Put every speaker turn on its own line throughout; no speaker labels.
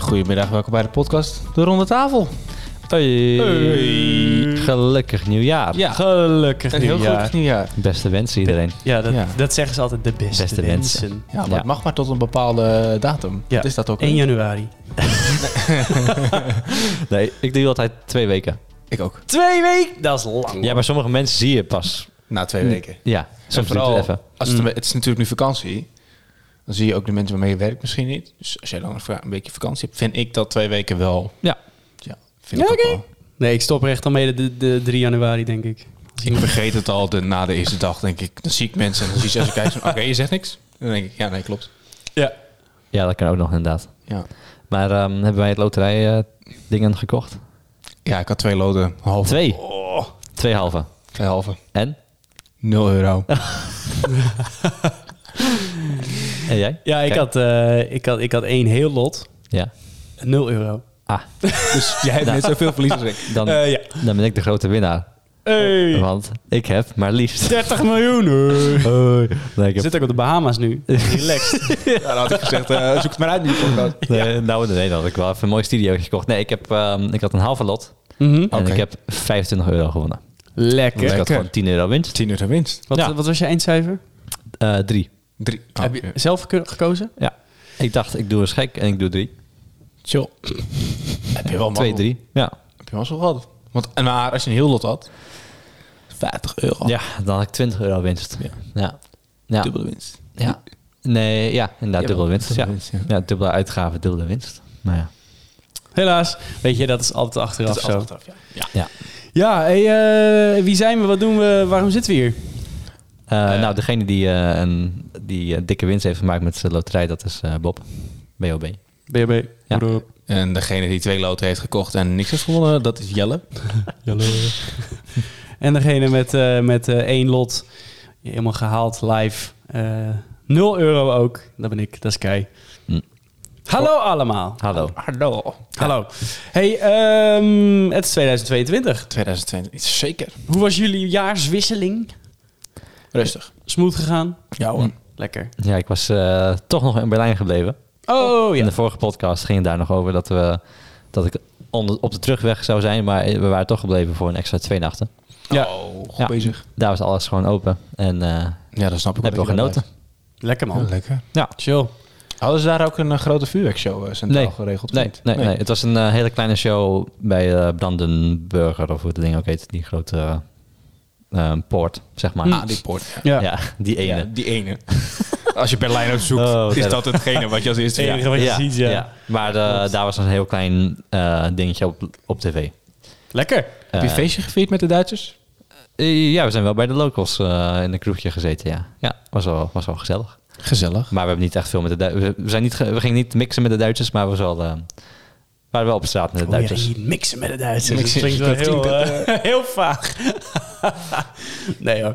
Goedemiddag, welkom bij de podcast De Ronde Tafel.
Hey.
Hey.
Gelukkig nieuwjaar.
Ja,
Gelukkig
een heel gelukkig nieuwjaar.
Beste wensen iedereen.
Ja dat,
Ja.
dat zeggen ze altijd, de beste,
Beste wensen.
wensen.
Ja, maar
Ja.
het mag maar tot een bepaalde datum.
Ja.
Is dat ook?
1 januari.
Nee, ik doe altijd twee weken.
Ik ook.
Twee weken! Dat is lang.
Ja, maar sommige mensen zie je pas.
Na twee weken.
Ja,
Hm. En
soms
vooral,
duurt het even.
Als het, Hm. het is natuurlijk nu vakantie. Dan zie je ook de mensen waarmee je werkt misschien niet. Dus als jij dan een, vra- een beetje vakantie hebt, vind ik dat twee weken wel.
Ja.
Ja, vind ik
Ja,
ook
oké.
wel.
Nee, ik stop er echt al mee de, de 3 januari, denk ik.
Dus Ik vergeet het al de, na de eerste dag, denk ik. Dan zie ik mensen en dan zie je ze als ik kijk. zo, Oké, je zegt niks. Dan denk ik, ja, nee, klopt.
Ja.
Ja, dat kan ook nog inderdaad.
Ja,
Maar ehm, hebben wij het loterij eh, dingen gekocht?
ja ik had twee loden. Halve.
Twee. Twee halve.
Twee halve.
En?
0 euro.
En jij?
Ja, ik
Kijk.
had, eh, ik, had, ik had één heel lot.
Ja.
0 euro.
Ah,
dus jij hebt net zoveel verlies als ik.
dan,
Eh, ja.
dan ben ik de grote winnaar.
Hey,
Want ik heb maar liefst...
30 miljoen. Hey.
Nee, ik
Ik
heb-
zit ook op de Bahama's nu. Relaxed.
Ja, dan had ik gezegd, eh, zoek het maar uit nu.
Nee, Nou, nee, dan had ik wel even een mooi studio gekocht. Nee, ik, heb, ehm, ik had een halve lot. En
Oké.
ik heb 25 euro gewonnen.
Lekker.
Dus ik had
Lekker.
gewoon 10 euro winst.
10 euro winst.
Wat,
Ja.
wat was je eindcijfer?
Eh, drie.
Drie. Oh,
Heb je zelf geko- gekozen?
Ja. Ik dacht, ik doe eens gek en ik doe drie.
Chill. heb je wel
Twee,
mazzel.
drie. Ja.
Heb je wel zo gehad. Want, en maar als je een heel lot had, 50 euro.
Ja, dan had ik 20 euro winst.
Oh. Ja.
Ja. Ja. Ja.
Dubbele winst.
Nee, ja, inderdaad, dubbele winst.
dubbele
ja.
winst, ja.
ja. dubbele uitgave, dubbele winst. Nou ja.
Helaas. Weet je, dat is altijd achteraf
Dat is
zo.
altijd af, ja. Ja.
ja.
Ja, hey, eh, wie zijn we? Wat doen we? Waarom zitten we hier?
Eh, nou, degene die, eh, een, die eh, dikke winst heeft gemaakt met zijn loterij, dat is eh, Bob. BOB.
BB.
Ja.
En degene die twee loten heeft gekocht en niks heeft gewonnen, dat is Jelle.
En degene met, eh, met eh, één lot, helemaal gehaald, live. eh 0 euro ook. Dat ben ik, dat is Kai.
Hm.
Hallo allemaal.
Hallo.
Hallo.
Hallo. Hey, ehm, het is 2022.
2020, zeker.
Hoe was jullie jaarswisseling?
Rustig.
Smooth gegaan?
Ja hoor.
Lekker.
Ja, ik was eh, toch nog in Berlijn gebleven.
Oh
In
ja.
de vorige podcast ging het daar nog over dat, we, dat ik onder- op de terugweg zou zijn, maar we waren toch gebleven voor een extra twee nachten.
ja.
Oh, goed
Ja.
bezig.
Daar was alles gewoon open en eh
Ja, dat snap ik
hebben we
dat je daar
genoten.
Lekker
blijft.
man.
Ja, lekker.
Ja.
Chill.
Hadden ze daar ook een eh, grote vuurwerkshow eh, centraal
Nee.
geregeld? of
Nee,
niet?
nee, nee. het was een eh, hele kleine show bij eh Brandenburger, of hoe dat ding ook heet, die grote eh, eh, poort, zeg maar.
Ah, die poort. ja.
Ja.
Ja, die ene.
Ja, die ene. als je Berlijn opzoekt,
Oh, wat
is
erg.
dat hetgene wat je als eerste
Het
vindt.
enige wat je ziet, ja.
Maar eh, daar was een heel klein eh, dingetje op, op tv.
Lekker.
Eh,
Heb je een feestje gevierd met de Duitsers?
eh, ja, we zijn wel bij de locals eh, in een kroegje gezeten, ja. Ja, was wel, was wel gezellig.
Gezellig.
Maar we hebben niet echt veel met de Duitsers. We, zijn niet ge- we gingen niet mixen met de Duitsers, maar we was wel, eh, waren wel op straat met de
Oh, ja,
Duitsers.
hier mixen met de Duitsers.
Mixen.
Dat klinkt wel
Dat
heel,
klinkt,
eh, heel vaag. nee hoor.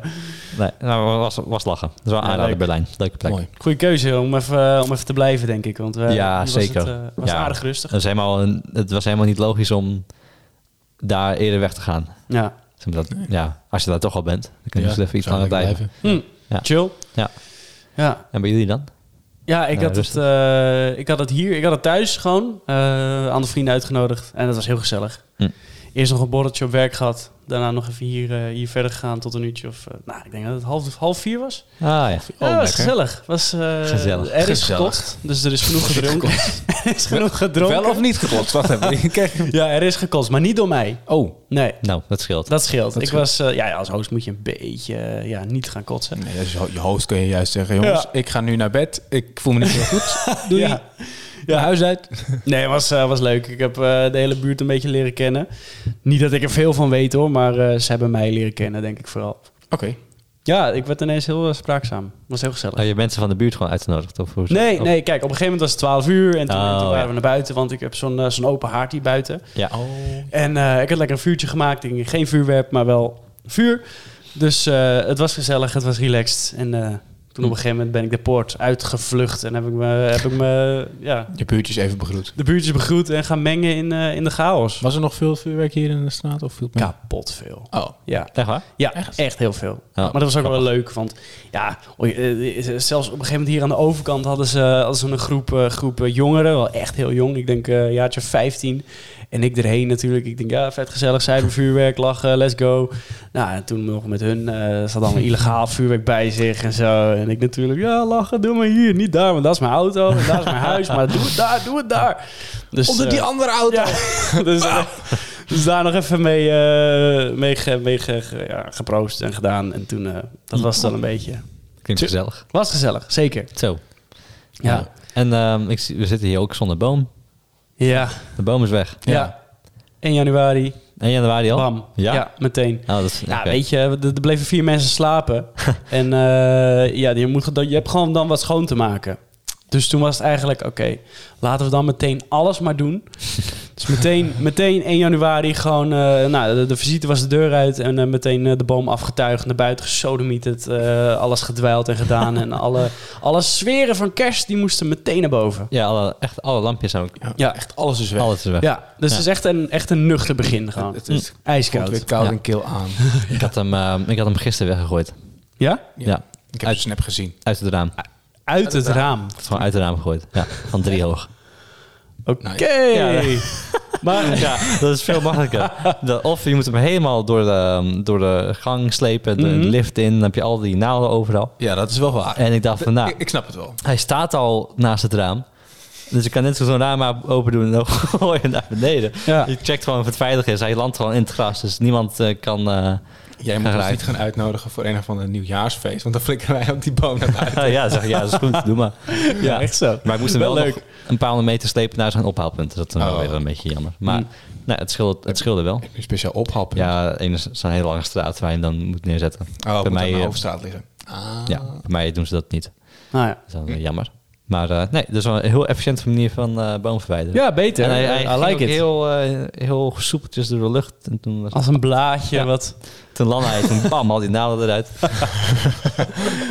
Nee, nou, was, was lachen. Dat is wel een
Ja,
aanrader
leuk.
Berlijn. Leuke plek.
Mooi.
Goeie keuze om even, eh, om even te blijven, denk ik. Want we,
Ja,
hier
zeker.
Was het, eh, was
Ja.
aardig rustig.
Het was, helemaal een- het was helemaal niet logisch om daar eerder weg te gaan.
Ja.
Zeg maar dat, ja, als je daar toch al bent, dan kun je
Ja,
dus even iets
zou
langer
lekker
blijven.
Hm.
Ja.
Chill.
Ja.
Ja.
En bij jullie dan?
Ja, ik,
Ja,
had het,
rustig.
eh, ik had het hier. Ik had het thuis gewoon. eh andere vrienden uitgenodigd. En dat was heel gezellig.
Hm.
Eerst nog een borreltje op werk gehad. Daarna nog even hier, eh, hier verder gegaan tot een uurtje of... eh, nou, ik denk dat het half, half vier was.
Ah ja.
Ja, dat was
lekker.
gezellig. Was, eh,
Gezellig.
Er is
Gezellig.
gekotst, dus er is genoeg gedronken. er is genoeg gedronken.
Wel of niet geklopt? Wacht even. Kijk.
Ja, er is gekotst, maar niet door mij.
Oh.
Nee,
Nou, dat scheelt.
dat scheelt.
Dat
ik
scheelt.
was, eh, ja, ja, als host moet je een beetje eh, ja, niet gaan kotsen.
Nee, als je je host kun je juist zeggen, jongens,
Ja.
ik ga nu naar bed. Ik voel me niet heel goed. Doei.
Ja.
Ja, huis uit.
Nee, was, eh, was leuk. Ik heb eh, de hele buurt een beetje leren kennen. Niet dat ik er veel van weet hoor, maar eh, ze hebben mij leren kennen, denk ik vooral.
Oké.
Ja, ik werd ineens heel eh, spraakzaam. Was heel gezellig.
Oh, je mensen van de buurt gewoon uitgenodigd? Of hoe is
Nee,
dat?
nee, kijk, op een gegeven moment was het 12 uur en toen,
Oh,
en toen waren
ja.
we naar buiten, want ik heb zo'n eh, zo'n open haard hier buiten.
Ja.
Oh.
En eh, ik had lekker een vuurtje gemaakt. Ik ging geen vuurwerp, maar wel vuur. Dus eh, het was gezellig, het was relaxed. En eh, Toen op een gegeven moment ben ik de poort uitgevlucht en heb ik me, heb ik me ja,
Je buurtjes even begroet.
de buurtjes begroet en gaan mengen in, eh, in de chaos.
Was er nog veel vuurwerk hier in de straat? Of viel het mee?
Kapot veel.
Oh,
Ja,
Echt waar? Oh,
ja echt? heel veel. maar dat was ook wel leuk, want ja, oh, eh, eh, zelfs op een gegeven moment hier aan de overkant hadden ze, hadden ze een groep, eh, groep eh, jongeren, wel echt heel jong, ik denk eh, een jaartje 15. En ik erheen natuurlijk, ik denk ja, vet gezellig, cybervuurwerk, lachen, let's go. Nou, en toen nog met hun, eh zat allemaal illegaal vuurwerk bij zich en zo. En ik natuurlijk, ja, lachen, doe maar hier, niet daar, want dat is mijn auto, en daar is mijn huis, maar doe het daar, doe het daar. Dus,
Onder
eh,
die andere auto.
ja, dus, eh, dus daar nog even mee, eh, mee, ge- mee ge- ge- ja, geproost en gedaan. En toen, eh, dat was dan een beetje...
Klinkt gezellig.
Was gezellig, zeker.
Zo.
Ja.
En ehm, ik, zie- we zitten hier ook zonder boom.
Ja,
De boom is weg.
ja. 1 januari,
1 januari al?
bam. Ja,
Ja?
meteen.
Oh, dat is,
Ja,
oké.
weet je, er er bleven vier mensen slapen. en eh, ja, je, moet, je hebt gewoon dan wat schoon te maken. Dus toen was het eigenlijk, oké, laten we dan meteen alles maar doen. dus meteen, meteen 1 januari gewoon, eh, nou, de, de visite was de deur uit. En eh, meteen eh, de boom afgetuigd, naar buiten gesodemieterd. eh alles gedwijld en gedaan. en alle, alle sferen van kerst, die moesten meteen naar boven.
Ja, alle, echt alle lampjes zijn ook...
Ja,
Echt alles is weg.
Alles is weg.
ja dus het is echt een, echt een nuchter begin gewoon.
Het is koud, Mm. weer
IJskoud.
koud
Ja.
en kil aan.
Ik, had hem, ehm, ik had hem gisteren weggegooid.
Ja?
Ja.
Ja.
Ik heb het snap gezien.
Uit het raam. Ik
Uit het raam.
had het gewoon uit het raam gegooid. Ja, van drie hoog.
Oké.
Nou Ja.
Maar
Ja, dat is veel makkelijker. Dat- of je moet hem helemaal door de, ehm, door de gang slepen, de
Mhm.
lift in. Dan heb je al die naalden overal.
Ja, dat is wel waar.
En ik dacht van, nou,
ik, ik snap het wel.
hij staat al naast het raam. Dus ik kan net zo zo'n raam maar open doen en dan gooi je hem naar beneden.
Ja.
Je checkt gewoon of het veilig is. Hij landt gewoon in het gras, dus niemand eh, kan... eh,
Jij moet
Ga
ons
eruit.
niet gaan uitnodigen voor een of ander nieuwjaarsfeest. Want dan flikkeren wij ook die boom naar buiten.
ja, zeg ik, ja, dat is goed, doe maar.
ja, echt zo.
Maar ik moest hem
Wel
wel,
leuk.
nog een paar honderd meter slepen naar zijn ophaalpunt. Dus dat is dan wel
Oh.
weer een beetje jammer. Maar
Hm.
nee, het, scheelde, het scheelde wel.
Ik heb een speciaal ophappen.
Ja, een is zo'n hele lange straat waar je hem dan moet neerzetten.
Oh,
bij,
moet
mij,
aan de
eh,
hoofdstraat liggen. Ah.
ja, bij mij doen ze dat niet.
Nou ja.
Dat is dan weer jammer. Maar eh, nee, dat is wel een heel efficiënte manier van eh boom verwijderen.
Ja, beter.
En hij, hij
I
ging ook
like it.
heel, eh, heel soepeltjes door de lucht. En toen, was,
Als een blaadje
Ja.
wat...
toen landde hij, toen bam, al die naden eruit.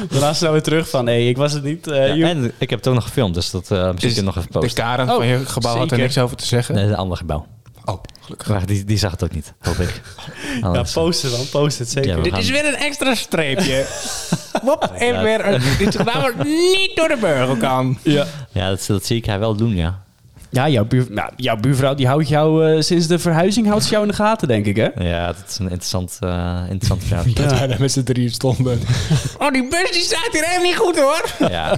Daarna snel weer terug van, hé, ik was het niet. eh,
Ja,
joh.
en ik heb het ook nog gefilmd, dus dat eh misschien kun
Dus
je nog even
De
posten.
Karen
Oh,
van je gebouw had er
zeker.
niks over te zeggen.
Nee, dat is een ander gebouw.
Oh, gelukkig.
Maar die, die zag het ook niet, hoop ik.
ja,
Anders-
post het dan, post het zeker.
Ja, we
Dit
gaan-
is weer een extra streepje. Wop, en
Ja.
weer een, dit gebouw wordt niet door de burger kan.
Ja.
Ja, dat, dat zie ik haar wel doen, ja.
Ja, jouw, buur, nou, jouw buurvrouw die houdt jou eh, sinds de verhuizing houdt ze jou in de gaten, denk ik, hè?
Ja, dat is een interessant, eh interessant vrouwtje.
Dat wij daar met z'n drieën stonden. Oh, die bus die staat hier helemaal niet goed hoor.
Ja, ja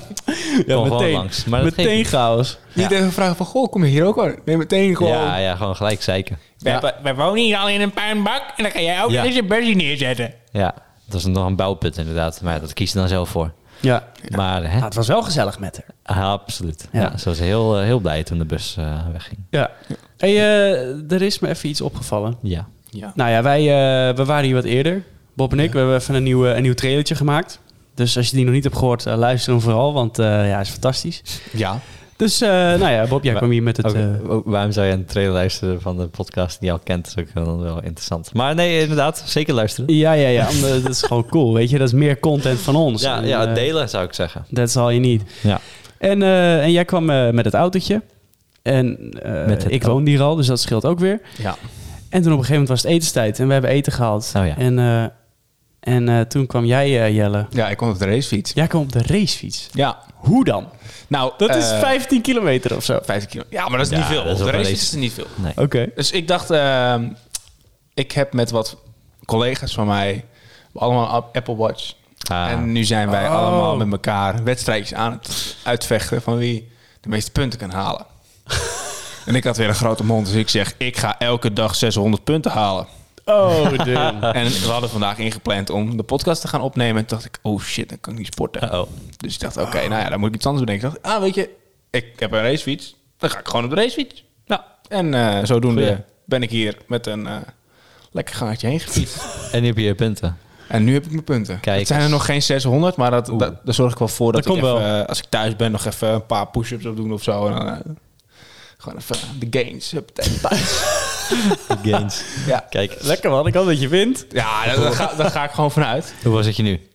meteen.
gewoon langs. Maar dat
Meteen
geeft
chaos.
Niet even vragen van, goh, kom je hier ook hoor. Nee, meteen
niet.
gewoon.
ja, ja, gewoon gelijk zeiken.
Wij, wij wonen hier al in een puinbak en dan ga jij ook
Ja.
eens je busje neerzetten.
Ja, dat is nog een bouwput inderdaad. Maar ja, dat kies je dan zelf voor.
Ja.
Maar hè,
het was wel gezellig met haar.
ah, absoluut.
Ja.
Ja. ze was heel, eh, heel blij toen de bus eh, wegging.
Ja. Hey, eh, er is me even iets opgevallen.
Ja.
Ja.
Nou ja, wij eh, we waren hier wat eerder. Bob en ik, we hebben even een nieuw, eh, een nieuw trailertje gemaakt. Dus als je die nog niet hebt gehoord, eh, luister hem vooral, want eh, ja, hij is fantastisch.
ja.
Dus eh, nou ja, Bob, jij
Wa-
kwam hier met het...
Ook,
eh,
ook waarom zou je een trailer luisteren van de podcast die je al kent? Dat is ook wel wel interessant. Maar nee, inderdaad, zeker luisteren.
Ja, ja, ja. om de- dat is gewoon cool, weet je. Dat is meer content van ons.
Ja,
En,
ja
eh,
delen zou ik zeggen.
That's all you need.
Ja.
En, eh, en jij kwam eh, met het autootje. En eh,
Met het
ik
au-
woonde hier al, dus dat scheelt ook weer.
Ja.
En toen op een gegeven moment was het etenstijd en we hebben eten gehaald.
Oh ja.
En, eh, en eh, toen kwam jij, eh, Jelle.
Ja, ik kom op de racefiets.
Jij kwam op de racefiets.
Ja.
Hoe dan?
Nou,
Dat is
eh,
15 kilometer of zo. Oké.
50 kilo. Ja, maar dat is
Ja,
niet veel.
dat is
Op de
ook een
racefiets
race.
is het niet veel.
Nee.
Dus ik dacht, ehm, ik heb met wat collega's van mij allemaal een App- Apple Watch.
Ah,
En nu zijn wij
Oh.
allemaal met elkaar wedstrijdjes aan het uitvechten van wie de meeste punten kan halen. en ik had weer een grote mond, dus ik zeg, ik ga elke dag 600 punten halen.
Oh, damn.
En we hadden vandaag ingepland om de podcast te gaan opnemen. En toen dacht ik, oh shit, dan kan ik niet sporten.
Uh-oh.
Dus ik dacht, oké, nou ja, dan moet ik iets anders bedenken. Ik dacht, ah, weet je, ik heb een racefiets. Dan ga ik gewoon op de racefiets.
Ja.
En eh, zodoende
Goeie.
ben ik hier met een eh, lekker gaatje heen gefietst.
En nu heb je je punten.
en nu heb ik mijn punten.
Kijk
het zijn er
eens.
nog geen 600, maar dat, dat, daar zorg ik wel voor. Dat,
Dat
ik
komt
even, eh, als ik thuis ben, nog even een paar push-ups op doen of zo. En dan, eh, gewoon even de gains. hup, tegen de thuis.
Gains.
ja,
Kijk,
Lekker man, ik hoop dat je wint.
ja daar, daar ga, daar ga ik gewoon vanuit.
hoe was het je nu?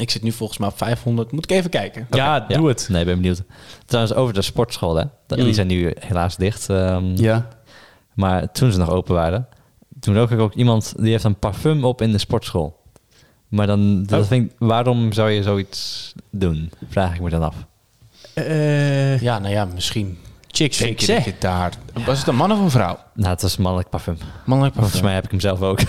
Ik zit nu volgens mij op 500. Moet ik even kijken.
Ja, doe het.
Nee, ben benieuwd. Trouwens, over de sportscholen. hè. Die
Mm.
zijn nu helaas dicht. ehm,
Ja.
Maar toen ze nog open waren, toen ook ik ook iemand die heeft een parfum op in de sportschool. Maar dan, dat
Oh.
vind ik, waarom zou je zoiets doen? Vraag ik me dan af.
Ja, nou ja, misschien.
chicks
Denk
Eh, fix,
je
hè?
dat je daar... Was het een man of een vrouw?
Nou, het was een mannelijk parfum.
Mannelijk
Volgens
parfum.
mij heb ik hem zelf ook.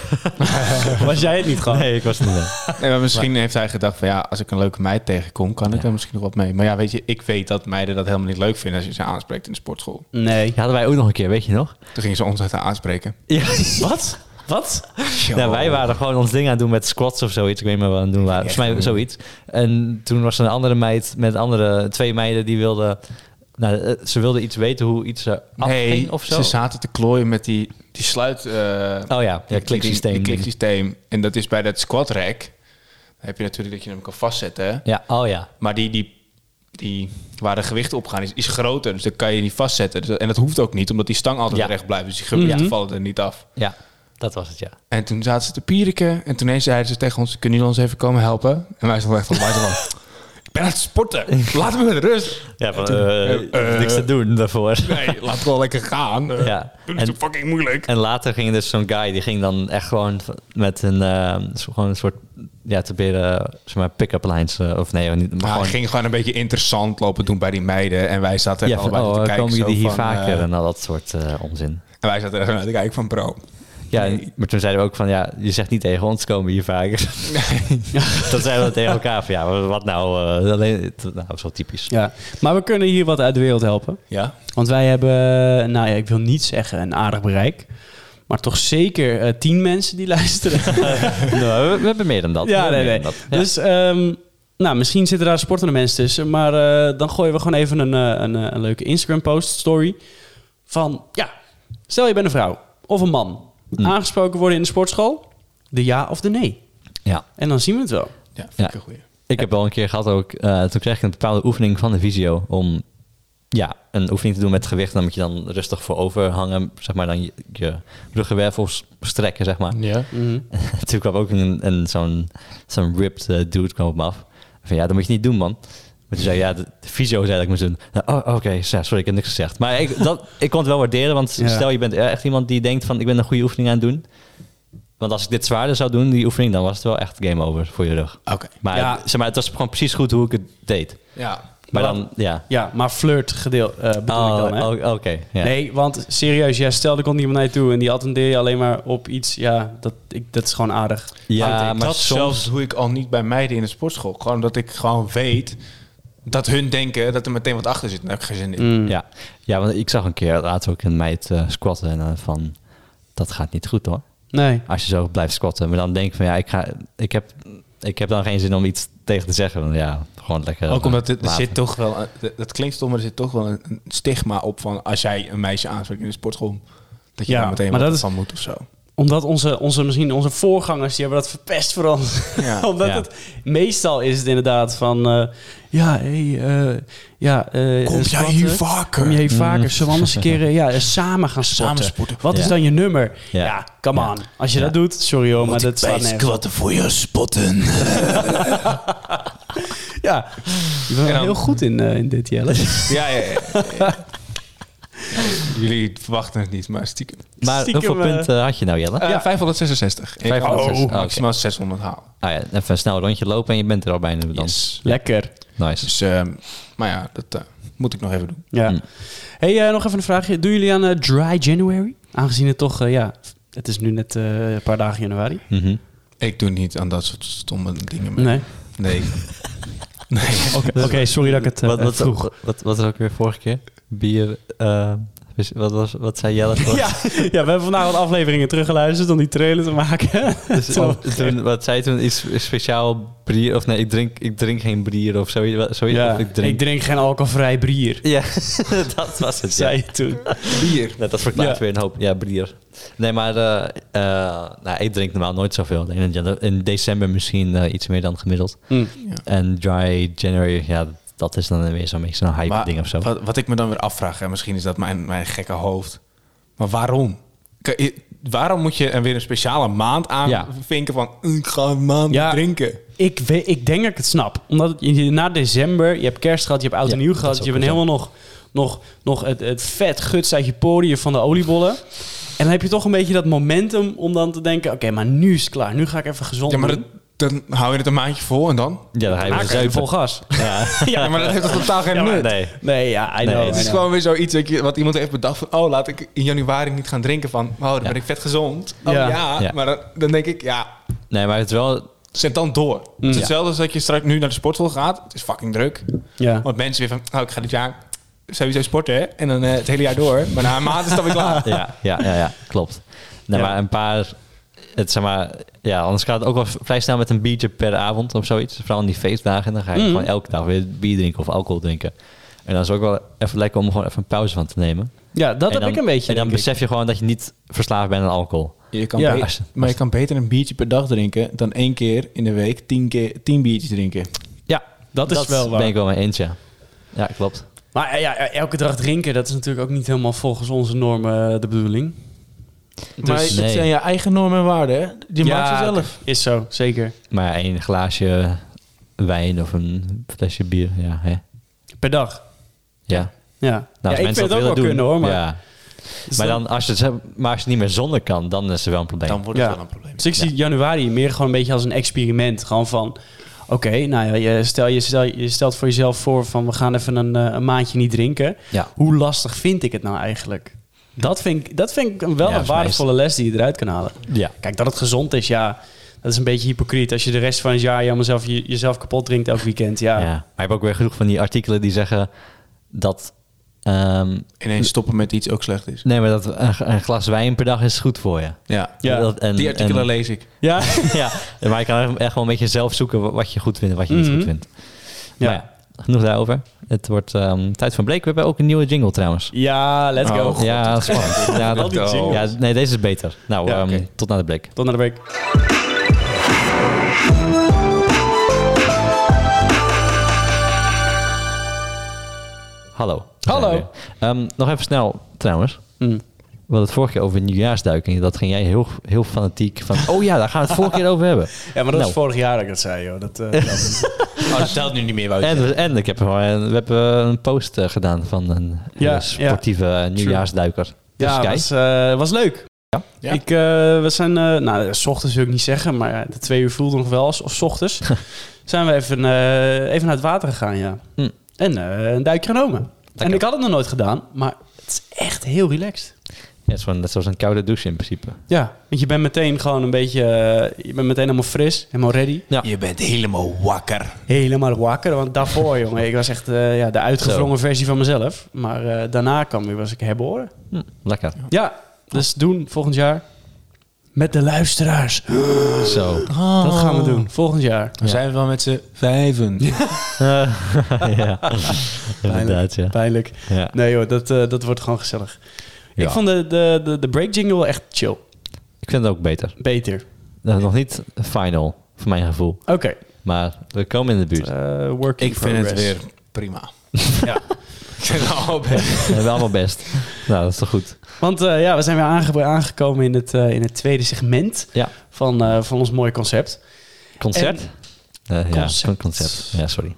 Was jij het niet gewoon?
Nee, ik was het niet. nee.
Nee, maar misschien heeft hij gedacht van ja, als ik een leuke meid tegenkom, kan ik daar misschien nog wat mee. Maar ja, weet je, ik weet dat meiden dat helemaal niet leuk vinden als je ze aanspreekt in de sportschool.
Nee.
Die hadden wij ook nog een keer, weet je nog?
Toen gingen ze ons uit haar aanspreken.
Ja.
Wat? Wat?
Nou, wij waren gewoon ons ding aan het doen met squats of zoiets. Ik weet niet meer wat we aan het doen waren. Volgens mij zoiets. En toen was er een andere meid met andere twee meiden die wilden... Nou, eh, ze wilden iets weten hoe iets eh, afging
Nee,
of zo.
ze zaten te klooien met die, die sluit... eh,
oh ja, ja
die-
kliksysteem.
Die, die kliksysteem. En dat is bij dat squat rack. Dan heb je natuurlijk dat je hem kan vastzetten. hè.
Ja, oh ja.
Maar die, die, die, waar de gewichten op gaan is, is groter. Dus dat kan je niet vastzetten. Dus dat- en dat hoeft ook niet, omdat die stang altijd
Ja.
recht blijft. Dus die gewichten
Mhm.
vallen er niet af.
Ja, dat was het, ja.
En toen zaten ze te pieriken. En toen ineens zeiden ze tegen ons, kunnen jullie ons even komen helpen? En wij stonden echt van, wij stonden van, ik ben aan het sporten. Laat me met rust.
Ja, van,
eh,
niks te doen daarvoor.
Nee, laat het wel lekker gaan. Eh,
Ja.
Doe
En-
niet zo fucking moeilijk.
En later ging dus zo'n guy, die ging dan echt gewoon v- met een, eh, zo- gewoon een soort, ja, te bidden, zeg maar, pick-up lines. eh, of nee, niet, maar
Maar
gewoon,
Ah, hij ging gewoon een beetje interessant lopen doen bij die meiden. En wij zaten er
ja, van,
allebei
oh,
te kijken.
komen jullie
zo
hier
van,
vaker?
eh,
en al dat soort eh, onzin.
en wij zaten er gewoon naar te kijken van, bro.
Ja, en- maar toen zeiden we ook van, ja, je zegt niet tegen ons, komen we hier vaker. dat zeiden we tegen elkaar van, ja, wat nou, eh, alleen, nou, dat is wel typisch.
Ja. Maar we kunnen hier wat uit de wereld helpen.
Ja?
Want wij hebben, nou ja, ik wil niet zeggen een aardig bereik. Maar toch zeker eh, tien mensen die luisteren.
Nou, we, we hebben meer dan dat.
ja,
We hebben
nee,
meer
nee.
dan dat. Ja.
Dus, ehm, nou, misschien zitten daar sportende mensen tussen. Maar eh, dan gooien we gewoon even een, eh, een, eh, een leuke Instagram-post, story. Van, ja, stel je bent een vrouw of een man.
Mm.
Aangesproken worden in de sportschool. De ja of de nee.
ja.
En dan zien we het wel.
Ja, vind
Ja.
ik een goeie.
Ik heb wel een keer gehad ook, eh, toen kreeg ik een bepaalde oefening van de visio om ja, een oefening te doen met gewicht. Dan moet je dan rustig voorover hangen, zeg maar, dan je, je ruggenwervels strekken, zeg maar.
Ja.
En toen kwam ook een, een, zo'n, zo'n ripped eh, dude kwam op me af. Van ja, dat moet je niet doen, man. Maar toen zei hij, ja, de, de fysio zei dat ik moest doen. Nou, oh, oké, ja, sorry, ik heb niks gezegd. Maar ik, dat, ik kon het wel waarderen, want
Ja.
stel je bent echt iemand die denkt van, ik ben een goede oefening aan het doen. Want als ik dit zwaarder zou doen, die oefening, dan was het wel echt game over voor je rug.
Oké.
Maar,
Ja.
zeg maar het was gewoon precies goed hoe ik het deed.
Ja.
Maar
Maar
dan, ja.
Ja, maar flirt gedeel, eh bedoel
Oh,
ik dan, hè?
o- Oké, ja.
Nee, want serieus, jij stelde komt iemand naar je toe en die attendeer je alleen maar op iets. Ja, dat, ik, dat is gewoon aardig.
ja,
Want
maar
dat
soms...
zelfs doe ik al niet bij meiden in de sportschool. Gewoon dat ik gewoon weet dat hun denken dat er meteen wat achter zit. Daar heb ik geen zin in.
Mm.
Ja. ja, want ik zag een keer laatst ook een meid eh, squatten en dan van... Dat gaat niet goed hoor.
Nee.
Als je zo blijft squatten. Maar dan denk ik van ja, ik, ga, ik, heb, ik heb dan geen zin om iets tegen te zeggen. Want ja, gewoon lekker... eh,
Ook omdat het, er
laten.
zit toch wel, eh, dat klinkt stom, maar er zit toch wel een een stigma op van als jij een meisje aanspreekt in de sportschool, dat je
Ja,
daar meteen
maar
wat
dat is-
van moet of zo.
Omdat onze, onze, misschien onze voorgangers, die hebben dat verpest voor ons.
Ja.
Omdat
Ja.
het, meestal is het inderdaad van, eh, ja, hé, eh, ja. eh,
Kom jij
squatten.
hier vaker? Mhm.
Kom je hier vaker? Zullen we anders een keer eh, ja, eh, samen gaan sporten?
Samen sporten.
Wat is
Ja.
dan je nummer? Ja,
Ja.
come on. Als je dat doet, sorry hoor, maar dat staat nergens. op.
voor je spotten.
Ja, je bent
En
wel
dan-
heel goed in, eh, in dit, Jelle.
Ja, ja, ja, ja. Jullie verwachten het niet, maar stiekem.
Maar
Stiekem,
hoeveel
eh,
punten had je nou, Jelle?
Eh, 566. Ik-
566,
Oh,
oké.
maximaal 600 halen.
Ah ja, even een snel rondje lopen en je bent er al bijna dan.
Yes.
Lekker.
Nice.
Dus, ehm, maar ja, dat eh, moet ik nog even doen.
Ja.
Hm.
Hey, eh, nog even een vraagje. Doen jullie aan eh, Dry January? Aangezien het toch, eh, ja, het is nu net eh, een paar dagen januari.
Mhm.
Ik doe niet aan dat soort stomme dingen mee.
Nee.
Nee. nee.
Oké, oké, sorry dat ik het eh,
Dus wat, wat,
vroeg.
Wat, wat was ook weer vorige keer? Bier. eh, wist- wat, was, wat zei Jelle? voor?
Ja, ja, we hebben vandaag wat afleveringen teruggeluisterd om die trailer te maken.
Dus
Toen-
toen- toen- wat zei toen? Iets speciaal bier? Of nee, ik drink, ik drink geen bier of zoiets. wat- zoiets
ja,
of
ik, drink. geen alcoholvrij bier,
Ja, dat was het.
zei
Ja.
je toen.
bier.
Net als verklaart
Ja.
weer een hoop. Ja, bier. Nee, maar eh, eh, nou, ik drink normaal nooit zoveel. Alleen In, janu- in december misschien eh, iets meer dan gemiddeld. En dry January, ja, dat is dan weer zo'n beetje zo'n hype
Maar
ding of zo.
Wat, wat ik me dan weer afvraag, en misschien is dat mijn, mijn gekke hoofd. Maar waarom? K- i- Waarom moet je er weer een speciale maand aan
Ja.
vinken van... Ik ga een maand
Ja.
drinken.
Ik, weet, ik denk dat ik het snap. Omdat je, na december, je hebt kerst gehad, je hebt oud en
Ja,
nieuw
dat
gehad.
is ook
Je bent
weer zo.
helemaal nog, nog, nog het, het vet guts uit je poriën van de oliebollen. En dan heb je toch een beetje dat momentum om dan te denken... oké, maar nu is het klaar. Nu ga ik even gezond
Ja, maar dat,
doen.
dan hou je het een maandje vol en dan?
Ja, dan ga je weer
Daarna ga je
zuipen.
vol gas.
Ja.
Ja, maar dat heeft toch totaal geen
Ja, maar
nut?
nee.
Nee, ja, I
Nee,
know.
Het
het
is
I know.
gewoon weer zoiets dat je- wat iemand heeft bedacht van... oh, laat ik in januari niet gaan drinken van... oh, dan
Ja.
ben ik vet gezond. Oh
Ja.
ja,
Ja.
maar dan, dan denk ik, ja,
Nee, maar het is wel...
zet dan door. Het is hetzelfde als dat je straks nu naar de sportschool gaat. Het is fucking druk.
Ja.
Want mensen weer van, oh, ik ga dit jaar sowieso sporten. hè? En dan eh, het hele jaar door. Maar na een maand is dat weer klaar.
Ja, ja, ja, ja klopt. Nee,
Ja.
maar een paar... Het, zeg maar, ja, anders gaat het ook wel v- vrij snel met een biertje per avond of zoiets. Vooral in die feestdagen. Dan ga je
Mm.
gewoon elke dag weer bier drinken of alcohol drinken. En dan is het ook wel even lekker om er gewoon even een pauze van te nemen.
ja, dat
En
heb
dan-
ik een beetje.
En dan
denk ik.
besef je gewoon dat je niet verslaafd bent aan alcohol.
Je kan
Ja.
be-
Als-
maar je kan beter een biertje per dag drinken... dan één keer in de week tien, keer, tien biertjes drinken.
Ja,
Dat is wel waar.
ben ik wel mee eens, ja. Ja, klopt.
Maar eh, ja, elke dag drinken, dat is natuurlijk ook niet helemaal volgens onze normen eh, de bedoeling.
maar
Dus-
het
Nee.
zijn je eigen normen en waarden, hè? Die
Ja,
maakt ze zelf.
Is zo, zeker.
Maar één glaasje wijn of een flesje bier, ja. Hè?
Per dag.
ja.
Ja.
Nou,
ja, ik vind het ook wel
willen
kunnen hoor, maar...
Ja.
dus
Maar,
dan-
dan, als je het, hebt- maar als je niet meer zonder kan, dan is er wel een probleem.
wordt
Ja.
probleem.
Dus ik zie januari meer gewoon een beetje als een experiment. Gewoon van, oké, nou ja, je, stel, je, stel, je stelt voor jezelf voor van... we gaan even een, eh, een maandje niet drinken.
ja.
Hoe lastig vind ik het nou eigenlijk? Dat vind ik, dat vind ik wel
Ja,
een
is
waardevolle les die je eruit kan halen.
ja.
Kijk, dat het gezond is, ja... Dat is een beetje hypocriet. Als je de rest van het jaar jammer zelf, je, jezelf kapot drinkt elk weekend. Ja,
Ja. Maar je hebt ook weer genoeg van die artikelen die zeggen dat... ehm,
Ineens stoppen met iets ook slecht is.
nee, maar dat een, een glas wijn per dag is goed voor je.
Ja.
Ja,
dat, en,
Die artikelen
en-
lees ik.
ja.
ja, maar je kan echt wel een beetje zelf zoeken wa- wat je goed vindt en wat je
Mhm.
niet goed vindt. Ja.
Ja.
Maar ja, genoeg daarover. Het wordt ehm, tijd van break. We hebben ook een nieuwe jingle trouwens.
Ja, let's
Oh,
go.
God.
ja, spannend. ja,
Wel die jingles.
ja, nee, deze is beter. Nou,
Ja,
ehm,
oké.
tot na de break.
Tot naar de break.
Hallo.
Hallo.
Zijn we weer. Ehm, nog even snel, trouwens.
Mm.
We hadden het vorige keer over het nieuwjaarsduik. En dat ging jij heel, heel fanatiek van... Oh ja, daar gaan we het vorige keer over hebben.
Ja, maar dat
Nou.
was vorig jaar dat ik dat zei, joh. Dat, eh,
Oh, dat stelt nu niet meer, Wout.
En, en ik heb, gewoon- we hebben een post eh, gedaan van een
Ja,
eh, sportieve nieuwjaarsduiker. Dus
ja,
kijk.
was, eh, was leuk.
Ja.
Ja.
Ik, eh, we zijn, eh nou, s ochtends wil ik niet zeggen, maar ja, de twee uur voelde nog wel als of s ochtends. zijn we even, eh, even naar het water gegaan, ja.
Hm.
En eh, een duik genomen. En
Lekker.
ik had het nog nooit gedaan, maar het is echt heel relaxed.
Ja, het is gewoon net zoals een koude douche in principe.
Ja, want je bent meteen gewoon een beetje, eh, je bent meteen helemaal fris, helemaal ready.
Je bent helemaal wakker.
helemaal wakker. Want daarvoor, jongen, ik was echt eh, ja, de uitgevrongen versie van mezelf. Maar eh, daarna kwam weer, was ik herboren.
Hm, lekker.
Ja, dus doen volgend jaar. Met de luisteraars.
Zo.
Dat gaan we doen, volgend jaar.
Dan zijn we wel met z'n vijven.
Eh, ja, inderdaad, ja.
Pijnlijk.
ja.
Nee hoor, dat, eh, dat wordt gewoon gezellig.
Ja.
Ik vond de, de, de, de break jingle wel echt chill.
Ik vind het ook beter.
Beter.
Eh, Nog niet final, voor mijn gevoel.
Oké.
Maar we komen in de buurt.
Eh, work in
Ik vind het
progress.
weer prima. Oh,
Ja.
Ik vind het al best.
We hebben allemaal best. Nou, dat is toch goed.
Want eh, ja, we zijn weer aange- aangekomen in het, eh, in het tweede segment
Ja.
van, eh, van ons mooie concept.
Concert? Eh, ja,
Concert.
zo'n concert. Ja, sorry.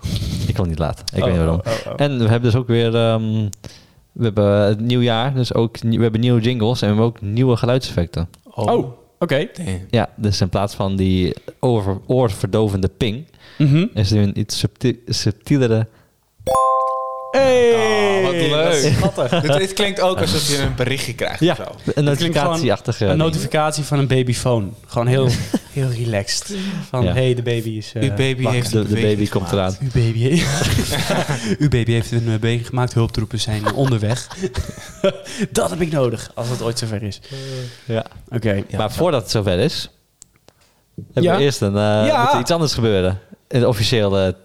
Ik kon niet laat. Ik
Oh,
weet niet waarom.
oh, oh, oh.
En we hebben dus ook weer... ehm, we hebben het nieuwjaar, dus ook... nie- We hebben nieuwe jingles en we hebben ook nieuwe geluidseffecten.
Oh, oké.
damn.
Ja, dus in plaats van die oor- oorverdovende ping...
Mhm.
is er een iets subtie- subtielere...
Hey,
Oh, wat leuk.
dat is Schattig.
dit, dit klinkt ook alsof je een berichtje krijgt of zo.
een
klinkt gewoon
notificatieachtige...
Een
ding.
notificatie van een babyfoon. Gewoon heel, heel relaxed. Van,
Ja.
hey, de baby is... eh,
Uw baby
wakker.
heeft
de, de baby
beweging
komt
gemaakt.
eraan.
Uw baby, Uw baby heeft een eh, beweging gemaakt. Hulptroepen zijn onderweg. dat heb ik nodig, als het ooit zover is.
Ja.
Oké.
maar voordat het zover is, hebben
Ja.
we eerst een, eh,
Ja.
moet er iets anders gebeuren. Een officiële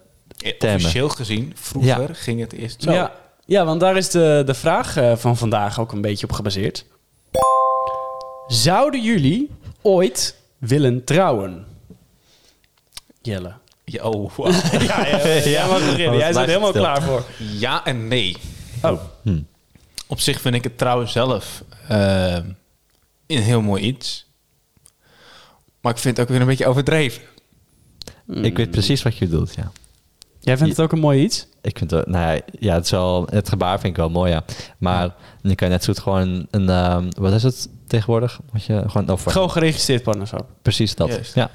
Ja,
Termen.
Officieel gezien, vroeger ging het eerst zo.
Ja. ja, want daar is de, de vraag eh, van vandaag ook een beetje op gebaseerd. Zouden jullie ooit willen trouwen? Jelle.
Ja, oh, wow.
Ja, ja, ja,
Ja,
mag beginnen. Jij
want het
zit er
blijft
helemaal
stil.
klaar voor.
ja en nee.
Oh,
Op zich vind ik het trouwens zelf eh, een heel mooi iets. Maar ik vind het ook weer een beetje overdreven.
Ik weet precies wat je bedoelt, ja.
Jij vindt het ook een mooi iets?
Ik vind het, nou ja, ja, het, is wel, het gebaar vind ik wel mooi, ja. Maar dan kan je net zo goed gewoon een, ehm, wat is het tegenwoordig? Wat je gewoon over.
Gewoon geregistreerd partnerschap.
Precies dat.
Juist.
Ja.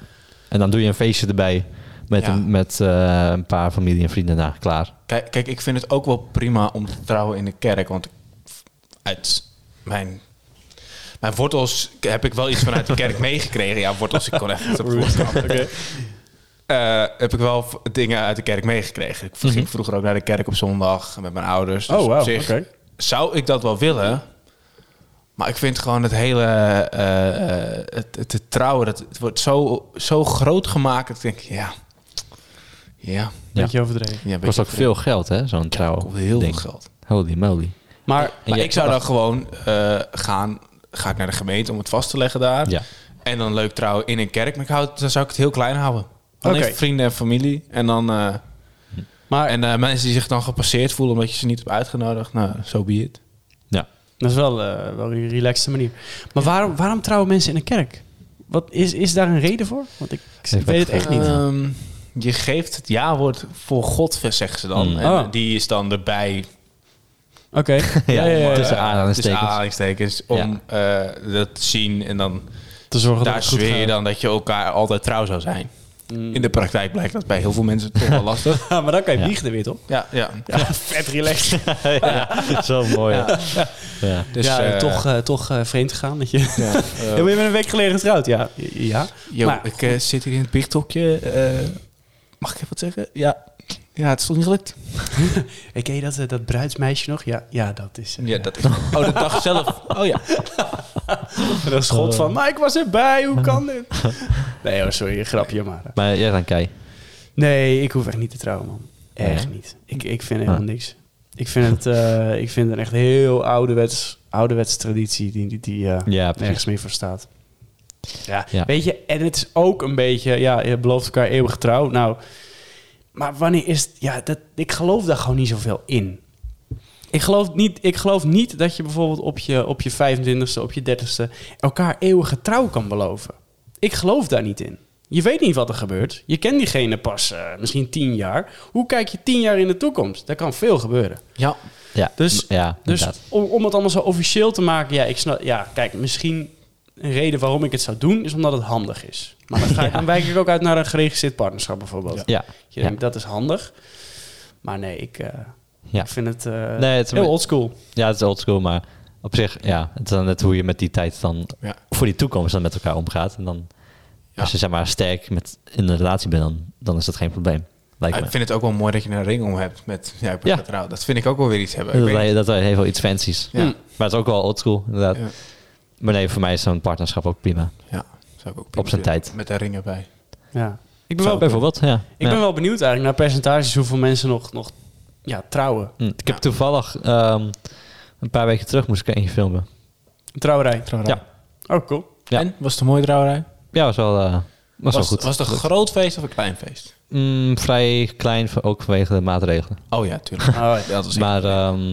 En dan doe je een feestje erbij met,
Ja.
een, met eh, een paar familie en vrienden. Nou, klaar.
Kijk, kijk, ik vind het ook wel prima om te trouwen in de kerk. Want uit mijn, mijn wortels heb ik wel iets vanuit de kerk meegekregen. Ja, wortels, ik kon even het woord Eh Heb ik wel v- dingen uit de kerk meegekregen. Ik ging vroeger ook naar de kerk op zondag met mijn ouders. Dus
Mhm. Oh, wauw,
op zich
oké.
zou ik dat wel willen. Maar ik vind gewoon het hele eh, eh, het, het, het trouwen, dat, het wordt zo, zo groot gemaakt. Dat ik denk, ja, ja.
Beetje overdreven.
ja weet
kost
je,
ook veel geld, hè? Zo'n
dat
trouw.
kost heel
ding.
veel geld.
Holy moly.
Maar
Maar
jij-
ik zou dan gewoon eh, gaan, ga ik naar de gemeente om het vast te leggen daar.
Ja.
En dan leuk trouwen in een kerk. Maar ik hou, het- dan zou ik het heel klein houden. Alleen
Oké.
vrienden en familie. En dan eh,
Maar
en, eh, mensen die zich dan gepasseerd voelen omdat je ze niet hebt uitgenodigd. Nou, zo so be it.
Ja.
dat is wel, eh, wel een relaxte manier. Maar waarom, waarom trouwen mensen in een kerk? Wat, is, is daar een reden voor? Want ik, ik
Even
weet het echt niet.
Ehm, je geeft het ja-woord voor God, zeggen ze dan.
Mm.
En
Oh.
eh, die is dan erbij.
Oké.
Ja, tussen
Dus
aanhalingstekens.
aanhalingstekens. Om eh, dat te zien. En dan
Te zorgen
daar
dat het goed
zweer je
gaat.
dan dat je elkaar altijd trouw zou zijn.
Mm.
In de praktijk blijkt dat bij heel veel mensen toch wel lastig. Oh
Ja, maar dan kan je
Ja.
biechten weer, toch?
Ja, ja.
Vet relaxed.
ja, zo mooi. Ja. Ja.
Dus
ja,
eh,
toch, eh, toch eh, vreemd gegaan. Dat je,
Ja, eh,
Ja, maar je bent een week geleden getrouwd, ja. Ja.
yo,
maar-
ik eh, zit hier in het biechthokje. eh, mag ik even wat zeggen? Ja. Ja, het is toch niet gelukt?
Ik ken je dat, eh, dat bruidsmeisje nog? Ja, ja dat is... eh,
Ja, dat is... Oh, de dag zelf. Oh ja.
Dat is God van, maar ik was erbij, hoe kan dit? Nee hoor, sorry, grapje maar. eh.
Maar jij dan, Kai.
Nee, ik hoef echt niet te trouwen, man. Echt
Nee? Ah.
niet. Ik, ik vind helemaal niks. Ik vind het, eh, ik vind het echt heel ouderwets, ouderwets traditie die, die, die eh,
Ja, precies.
nergens meer voor staat. Ja,
Ja.
weet je, en het is ook een beetje, ja, je belooft elkaar eeuwig trouw. Nou, maar wanneer is, het- ja, dat, ik geloof daar gewoon niet zoveel in. Ik geloof niet, ik geloof niet dat je bijvoorbeeld op je, op je 25ste, op je 30ste elkaar eeuwige trouw kan beloven. Ik geloof daar niet in. Je weet niet wat er gebeurt. Je kent diegene pas eh, misschien tien jaar. Hoe kijk je tien jaar in de toekomst? Daar kan veel gebeuren.
Ja.
Ja,
Dus-
m- ja,
Dus
inderdaad.
om, om het allemaal zo officieel te maken, ja, ik snap, ja, kijk, misschien een reden waarom ik het zou doen is omdat het handig is. Maar dan, ga ik,
Ja.
dan wijk ik ook uit naar een geregistreerd partnerschap bijvoorbeeld.
Ja.
Je
Ja.
denkt dat is handig. Maar nee, ik, eh,
Ja.
ik vind het, eh,
Nee, het is-
heel oldschool.
ja, het is oldschool, maar op zich, ja, het is dan net hoe je met die tijd dan
Ja.
voor die toekomst dan met elkaar omgaat. En dan,
Ja.
als je zeg maar sterk met, in een relatie bent, dan, dan is dat geen probleem. Lijkt
ik
me.
vind het ook wel mooi dat je een ring om hebt met... Ja, ik ben
Ja.
getrouwd. Dat vind ik ook wel weer iets hebben. Ik
Dat,
weet
wij- dat wij heel veel iets fancies.
Hm.
Ja.
Maar het is ook wel oldschool, inderdaad.
Ja.
Maar nee, voor mij is zo'n partnerschap ook prima.
niet. Ja, zou ik ook
Op zijn tijd.
Met de ringen bij.
Ja. Ik ben
Zo,
wel
bijvoorbeeld, ja.
Ik
Ja.
ben wel benieuwd eigenlijk naar percentages hoeveel mensen nog, nog ja, trouwen.
Hm, Ik heb toevallig ehm, een paar weken terug moest ik eentje filmen.
Een trouwerij.
Trouwerij.
Ja.
Oh, cool.
Ja.
En, was het een mooie trouwerij?
Ja, was wel, eh, was wel
was,
goed.
was het een groot feest of een klein feest?
Mm, vrij klein, voor- ook vanwege de maatregelen.
Oh ja, tuurlijk.
Oh, ja.
Dat was
Maar, ehm,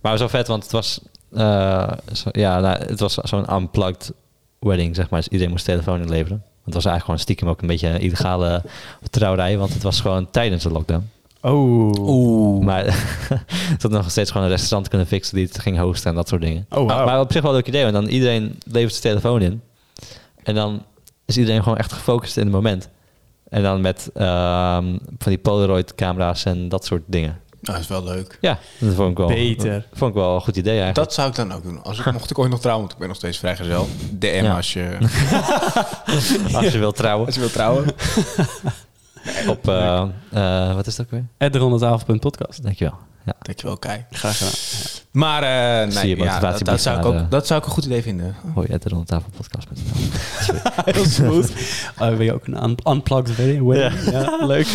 maar het was wel vet, want het was, eh, zo- ja, nou, het was zo'n unplugged wedding, zeg maar. Dus iedereen moest telefoon inleveren. Want het was eigenlijk gewoon stiekem ook een beetje een illegale trouwerij, want het was gewoon tijdens de lockdown.
Oh.
Oeh.
Maar ze hadden nog steeds gewoon een restaurant kunnen fixen die het ging hosten en dat soort dingen.
Oh, wauw.
Maar op zich wel een leuk idee, want dan iedereen levert zijn telefoon in. En dan is iedereen gewoon echt gefocust in het moment. En dan met ehm, van die Polaroid-camera's en dat soort dingen.
dat Nou, is wel leuk.
Ja, dat vond ik wel,
Beter.
Vond ik wel een goed idee eigenlijk.
Dat zou ik dan ook doen. Als ik, mocht ik ooit nog trouwen, want ik ben nog steeds vrijgezel. DM
Ja.
als, je,
Als je wil trouwen.
als je wilt trouwen.
Op, eh, eh, wat is dat ook weer?
At de ronde tafel.podcast.
Dankjewel. Ja.
Dankjewel, Kai.
Graag gedaan.
Maar eh,
Zie
nee,
je
ja, dat,
motivatiebrief
dat zou ik
naar
ook,
de-
dat zou ik een goed idee vinden.
Hoi, uit de Ronde Tafel podcast. met
Heel smooth. Oh, wil je ook een un- unplugged wedding? wedding? Ja. leuk.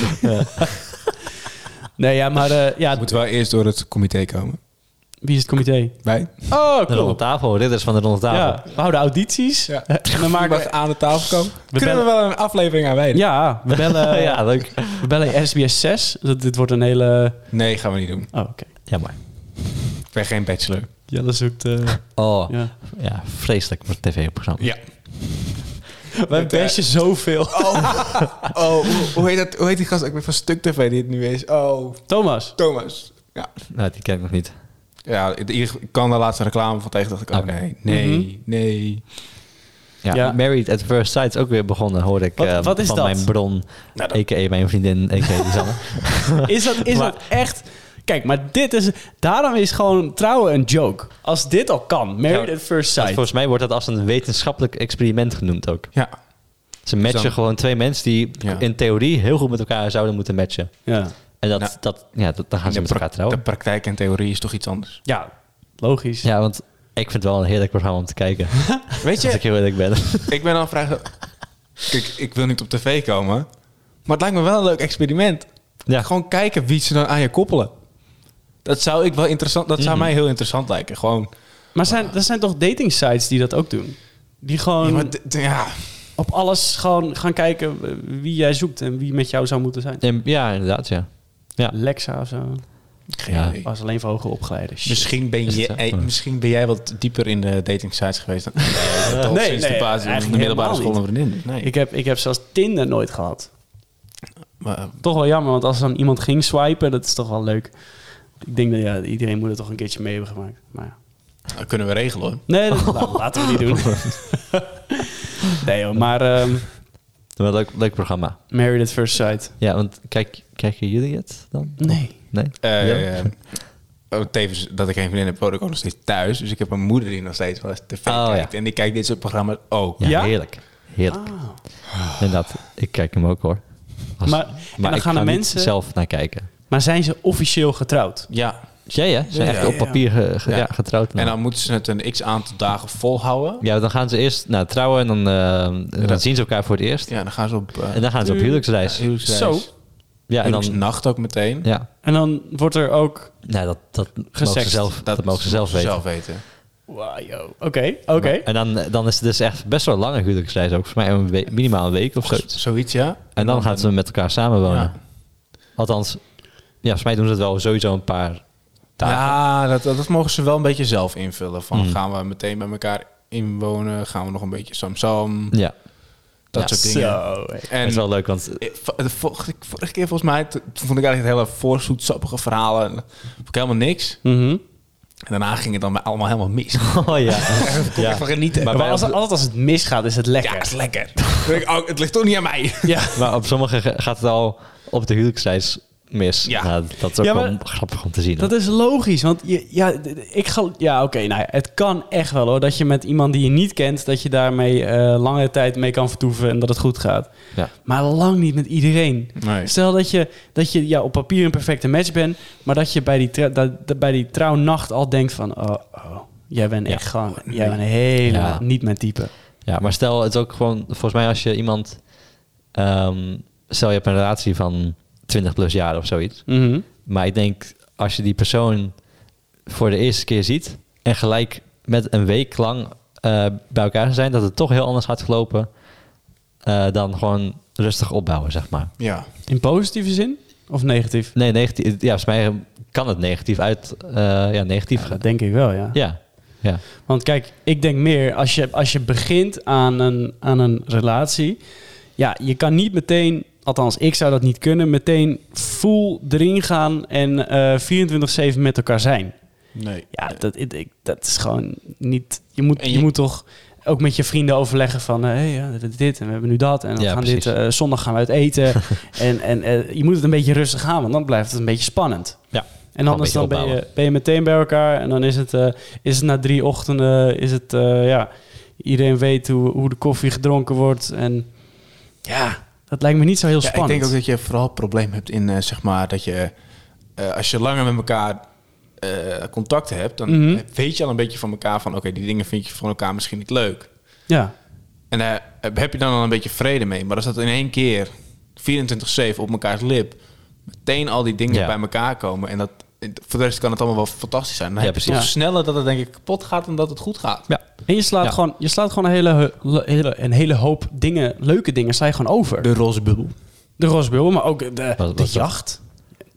Nee, ja, maar eh, ja,
Het moet wel eerst door het comité komen.
wie is het comité?
Wij?
Oh,
De Ronde
cool.
Tafel, ridders van de Ronde Tafel.
Ja, we houden audities.
Ja.
En dan maken
Mag
we...
aan de tafel komen? Kunnen we
bellen-
wel een aflevering aan wijden?
Ja, we bellen,
ja, leuk.
we bellen SBS 6. Dat, dit wordt een hele...
Nee, gaan we niet doen.
Oh, oké.
Ja, maar.
Ik ben geen bachelor.
Jelle zoekt... eh,
Oh,
ja.
ja, vreselijk voor tv-programma.
Ja.
Wij
Met, eh,
bashen zoveel.
Oh, hoe- hoe heet, dat, hoe heet die gast ook weer van Stuk TV die het nu is? Oh,
Thomas.
Thomas. Ja,
Nou, die ken ik nog niet.
ja ik, ik kan de laatste reclame van tegen dacht ik, oh
Oké.
nee, nee,
Mhm.
nee.
Ja,
Ja.
Married at First Sight is ook weer begonnen, hoorde ik
Wat-
eh,
wat is
van
dat?
mijn bron,
Nou, dat-
a.k.a. mijn vriendin, a.k.a. Lisanne.
Is dat, is dat echt... Kijk, maar dit is... Daarom is gewoon trouwen een joke. Als dit al kan. Married
Ja,
at first
Want
sight.
Volgens mij wordt dat als een wetenschappelijk experiment genoemd ook.
Ja,
Ze matchen
dan-
gewoon twee mensen die
Ja.
in theorie heel goed met elkaar zouden moeten matchen.
Ja.
En dat,
Nou,
dat, ja, dat, dan gaan ze
de,
met
pra-
elkaar
de
trouwen.
praktijk en theorie is toch iets anders.
ja, logisch.
Ja, want ik vind het wel een heerlijk programma om te kijken.
Weet
Als ik heel eerlijk ben.
ik ben al vragen. Kijk, ik wil niet op tv komen, maar het lijkt me wel een leuk experiment.
ja,
Gewoon kijken wie ze dan aan je koppelen. Dat zou ik wel interessant. Dat
Mhm.
zou mij heel interessant lijken. Gewoon.
Maar zijn, er zijn toch dating sites die dat ook doen? Die gewoon
Ja, maar d- d- ja.
op alles gewoon gaan kijken wie jij zoekt en wie met jou zou moeten zijn.
en- ja, inderdaad, ja. Ja.
Lexa of zo.
Geen
Ja.
idee.
Was alleen voor hoger opgeleiden. Shit.
Misschien ben,
Is
je,
het, Oh.
eh,
ja.
misschien ben jij wat dieper in de dating sites geweest dan nee,
nee,
sinds de basis
eigenlijk
van de middelbare
helemaal
school een vriendin. Nee.
Ik heb, ik heb zelfs Tinder nooit gehad.
maar, eh,
Toch wel jammer, want als dan iemand ging swipen, dat is toch wel leuk. Ik denk dat ja, iedereen moet er toch een keertje mee hebben gemaakt. Maar ja.
dat kunnen we regelen hoor.
Nee, dat, nou, laten we niet doen. nee hoor, maar ehm
Wel een leuk, leuk programma.
Married at First Sight.
Ja, want kijk, kijken jullie het dan?
Nee.
Nee?
Eh,
Ja?
eh, oh, tevens dat ik geen vriendin heb, woon ik ook nog steeds thuis. Dus ik heb een moeder die nog steeds wel eens tv
Oh,
kijkt.
ja.
En die kijkt dit soort programma's ook.
Ja,
Ja?
heerlijk. Heerlijk.
Ah.
Inderdaad, ik kijk hem ook hoor. Als-
Maar- en dan
ik
gaan de
ga niet
mensen-
zelf naar kijken.
Maar zijn ze officieel getrouwd?
Ja.
Ja, ja. Ze zijn
Ja,
echt
ja,
op
ja.
papier ge- ge-
Ja.
ja, getrouwd.
En dan moeten ze het een x aantal dagen volhouden.
ja, dan gaan ze eerst nou, trouwen en dan, eh, en dan
dat-
zien ze elkaar voor het eerst.
Ja, dan gaan ze op eh,
En dan gaan ze op huwelijksreis.
huwelijksreis.
Zo.
Ja, en dan...
nacht ook meteen.
Ja,
En dan wordt er ook...
nou, dat, dat, mogen ze
Gesext.
zelf, dat, mogen ze zelf weten.
Wow, yo. Oké, oké.
En dan, eh, dan is het dus echt best wel een lange huwelijksreis ook. Voor mij een we- minimaal een week of zo.
Zoiets, ja.
En dan gaan ze met elkaar samenwonen.
Ja.
Althans, ja, volgens mij doen ze dat wel sowieso een paar dagen.
Ja, dat, dat, dat mogen ze wel een beetje zelf invullen. Van
Mm.
gaan we meteen bij elkaar inwonen? Gaan we nog een beetje samsam?
Ja,
Dat
Ja.
soort dingen.
Zo, hé.
dat is
En
wel leuk, want
eh, vo- de vorige, vorige keer volgens mij, toen vond ik eigenlijk hele voorzoetsappige verhalen. En Vond ik helemaal niks.
Mhm.
En daarna ging het dan bij allemaal helemaal mis.
Oh ja.
Ja. Van genieten.
Maar
Maar
bij
als,
ons-
altijd als het misgaat, is het
eh, ja, dat
lekker.
is lekker. Dan denk ik, oh, het ligt toch niet aan mij.
Ja.
maar op sommige ge- gaat het al op de huwelijksreis mis.
Ja.
Nou, dat is ook
Ja,
wel
maar-
grappig om te zien.
Dat is logisch, want je, ja, d- d- ik ga, ja, oké, nou, ja, het kan echt wel hoor, dat je met iemand die je niet kent, dat je daarmee eh, lange tijd mee kan vertoeven en dat het goed gaat.
Ja.
Maar lang niet met iedereen.
Nee.
Stel dat je, dat je ja, op papier een perfecte match bent, maar dat je bij die, tra- dat, dat bij die trouwnacht al denkt van, oh, oh jij bent
Ja.
echt gewoon, jij bent helemaal
Ja.
niet mijn type.
Ja, maar stel, het is ook gewoon, volgens mij als je iemand, ehm, stel je hebt een relatie van 20 plus jaar of zoiets.
Mhm.
Maar ik denk, als je die persoon voor de eerste keer ziet en gelijk met een week lang eh, bij elkaar zijn, dat het toch heel anders gaat gelopen eh, dan gewoon rustig opbouwen, zeg maar.
Ja.
In positieve zin of negatief?
Nee, negatief, ja, volgens mij kan het negatief uit, eh, ja, negatief
Ja,
gaan.
dat denk ik wel, ja.
Ja, ja.
Want kijk, ik denk meer als je, als je begint aan een, aan een relatie. Ja, je kan niet meteen, althans ik zou dat niet kunnen, meteen full erin gaan en eh 24-7 met elkaar zijn.
Nee.
Ja, dat, ik, ik- dat is gewoon niet. Je moet,
En
je,
je-
moet toch ook met je vrienden overleggen van, hé, hey, ja, we hebben dit en we hebben nu dat. En we
Ja,
gaan
precies.
dit, eh, zondag gaan we uit eten. en en eh, je moet het een beetje rustig aan, want dan blijft het een beetje spannend.
Ja.
En
Gewoon
anders
een
dan
beetje
ben je,
opbouwen.
ben je meteen bij elkaar en dan is het, eh, is het na drie ochtenden, is het, eh, ja, iedereen weet hoe, hoe de koffie gedronken wordt. En ja, dat lijkt me niet zo heel
Ja, ik
spannend.
denk ook dat je vooral het probleem hebt in, eh, zeg maar, dat je eh, als je langer met elkaar eh, contact hebt, dan
Mhm.
weet je al een beetje van elkaar van, oké, die dingen vind je van elkaar misschien niet leuk.
Ja,
En daar heb je dan al een beetje vrede mee. Maar als dat in één keer 24-7 op mekaars lip, meteen al die dingen
Ja.
bij elkaar komen en dat voor de rest kan het allemaal wel fantastisch zijn. Dan
Ja,
heb je toch
precies.
sneller dat het denk ik kapot gaat dan dat het goed gaat.
ja.
en je slaat,
Ja.
gewoon, je slaat gewoon een hele, he- hele, een hele hoop dingen, leuke dingen, sla je gewoon over.
De roze bubbel.
De rosbubbel, maar ook de, de
was dat?
jacht.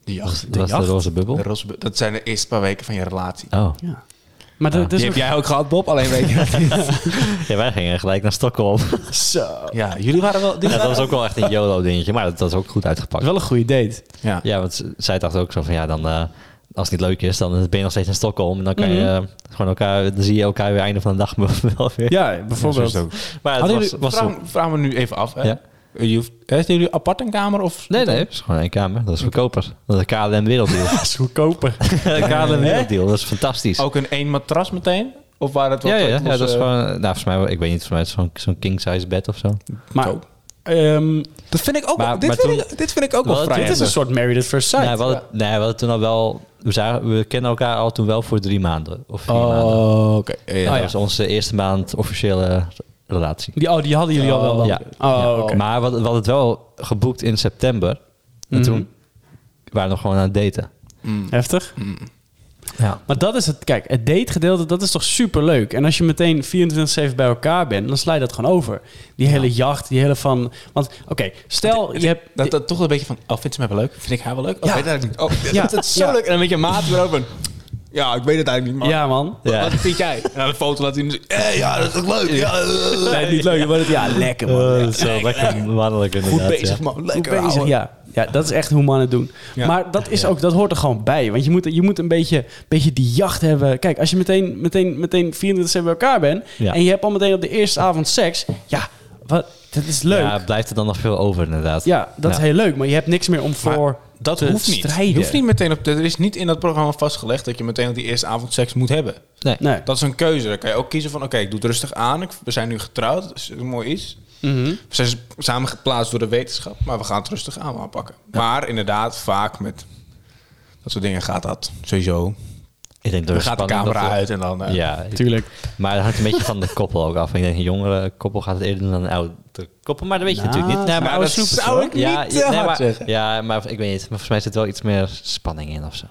De
Was,
jacht.
was de
jacht?
roze bubbel?
De roze bubbel. Dat zijn de eerste paar weken van je relatie.
Oh,
Ja. Maar
Ja.
dat dat
Die
is
heb
nog-
jij ook gehad, Bob. Alleen weet je dat niet.
Ja, wij gingen gelijk naar Stockholm.
Zo.
Ja, jullie waren wel...
Ja, dat was ook wel echt een YOLO-dingetje, maar dat, dat is ook goed
Dat
uitgepakt.
is wel een goede date.
Ja.
Ja, want z- zij dacht ook zo van, ja, dan... eh, als het niet leuk is, dan ben je nog steeds in Stockholm. En dan kan je eh, gewoon elkaar, dan zie je elkaar weer einde van de dag wel weer.
Ja, bijvoorbeeld.
Ja, zo is het ook.
Maar het
Hadden
was,
jullie-
was
vraag, vraag me nu even af. Hè? Eh,
Ja.
Je hoeft, hebben jullie apart een kamer? Of
Nee, nee, het is gewoon één kamer. Dat is goedkoper. Dat is de KLM Werelddeal.
Dat is goedkoper.
de KLM Werelddeal, dat is fantastisch.
ook een één matras meteen? Of waren het wat
ja, ja, ja,
wat
dat is
eh,
gewoon... Nou, volgens mij, ik weet niet, volgens mij is het zo'n zo'n king-size bed of zo.
Maar
Zo.
ehm,
Dat vind ik ook
Maar-
wel, dit,
maar
vind
toen-
ik, dit vind ik ook wel,
Wel,
vrij.
dit is een
heftig.
soort married at first sight.
Nee, Nou, we, hadden, nee, we hadden toen al wel... We, zagen, we kennen elkaar al toen wel voor drie maanden. Of vier maanden.
Oh, oké. Ja,
Ja,
ja.
dat
ja.
was onze eerste maand officiële relatie.
Die, oh, die hadden jullie al wel. dan?
Ja.
Oh,
Ja.
oké.
Maar we hadden, we hadden het wel geboekt in september. En
Mhm.
toen waren we nog gewoon aan het daten.
Heftig.
Ja.
Maar dat is het, kijk, het dategedeelte, dat is toch super leuk. En als je meteen 24-7 bij elkaar bent, dan sla je dat gewoon over. Die hele jacht, die hele van. Want oké, stel je hebt.
Dat, dat toch een beetje van, oh, vindt ze mij wel leuk? Vind ik haar wel leuk? Oh,
Ja.
weet ik eigenlijk niet. Oh,
Ja.
dat, dat is zo
Ja.
leuk. En dan met je maat erover. Ja, ik weet het eigenlijk niet, maar...
ja, man.
Wat,
Ja.
wat vind jij? En dan een foto laat zien. Eh, ja, dat is ook leuk. Ja, eh,
Nee, niet leuk, maar het, ja, lekker man.
Eh, dat is wel lekker mannelijk inderdaad.
eh, goed bezig,
ja.
man.
Goed
Lekker
bezig,
ouwe.
ja. ja, dat is echt hoe mannen het doen.
Ja.
Maar dat, is ook, dat hoort er gewoon bij. Want je moet, je moet een beetje, beetje die jacht hebben. Kijk, als je meteen, meteen, meteen 24 bij elkaar bent...
Ja.
en je hebt al meteen op de eerste avond seks... ja, wat, dat is leuk.
Ja,
Ja,
blijft er dan nog veel over inderdaad.
dat is
Ja.
heel leuk. Maar je hebt niks meer om
Maar
voor
dat
te
hoeft niet.
strijden.
Je hoeft niet meteen op, er is niet in dat programma vastgelegd dat je meteen op die eerste avond seks moet hebben.
Nee.
Nee.
Dat is een keuze. Dan kan je ook kiezen van, oké, ik doe het rustig aan. Ik- we zijn nu getrouwd, dat is mooi is.
Mhm.
We zijn samen geplaatst door de wetenschap, maar we gaan het rustig aan aanpakken. Maar inderdaad, vaak met dat soort dingen gaat dat sowieso.
Ik denk door
Dan gaat de
spanning
camera
dat we-
uit en dan... eh,
Ja,
Tuurlijk.
maar dat hangt een beetje van de koppel ook af. Ik denk, een jongere koppel gaat het eerder doen dan een oude koppel. Maar dat weet je
Nou,
natuurlijk niet. Nee,
nou,
maar
dat zou ik
ja,
niet,
ja,
eh,
nee,
hard
maar-
zeggen.
Ja, maar ik weet niet. Maar volgens mij zit wel iets meer spanning in of zo.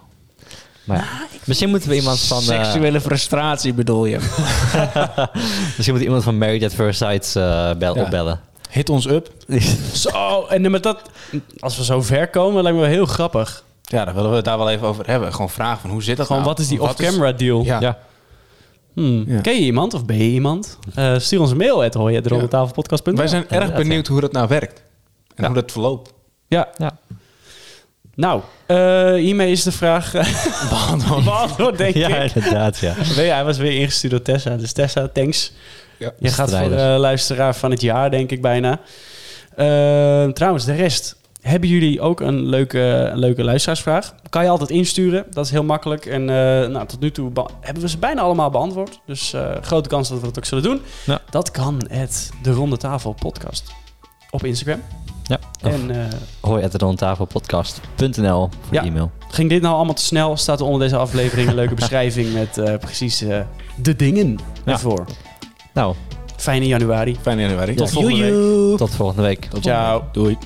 Maar ja, misschien moeten we iemand van... eh,
frustratie bedoel je.
misschien moet iemand van Married at First Sight eh, bel,
Ja.
opbellen.
Hit ons up.
Zo, en met dat, als we zo ver komen, lijkt me wel heel grappig.
Ja, daar willen we het daar wel even over hebben. Gewoon vragen van, hoe zit dat
Gewoon,
nou?
wat is die
Wat
off-camera deal?
Ja.
Ja.
Hmm.
Ja.
Ken je iemand of ben je iemand? Eh, stuur ons een mail, at hoor je,
Wij zijn erg
inderdaad, ja.
benieuwd hoe dat nou werkt. En hoe dat verloopt.
Ja,
ja.
Nou, eh, hiermee is de vraag
Oh.
eh,
Behandeld.
beantwoord, denk
Ja,
ik.
inderdaad, ja.
Nee, hij was weer ingestuurd door Tessa. Dus Tessa, thanks.
Ja.
Je gaat voor
Strijder.
eh, luisteraar van het jaar, denk ik bijna. Eh, trouwens, de rest. Hebben jullie ook een leuke, een leuke luisteraarsvraag? Kan je altijd insturen. Dat is heel makkelijk. En eh, nou, tot nu toe be- hebben we ze bijna allemaal beantwoord. Dus eh, grote kans dat we dat ook zullen doen.
Ja.
Dat kan het De Ronde Tafel podcast. Op Instagram.
ja.
En eh,
Hoi at rondtafelpodcast.nl voor
Ja.
de e-mail.
Ging dit nou allemaal te snel? Staat er onder deze aflevering een leuke beschrijving met eh, precies eh, de dingen ervoor.
Nou,
Fijne januari.
Fijn januari.
Tot volgende week.
tot volgende week.
Ciao.
Doei.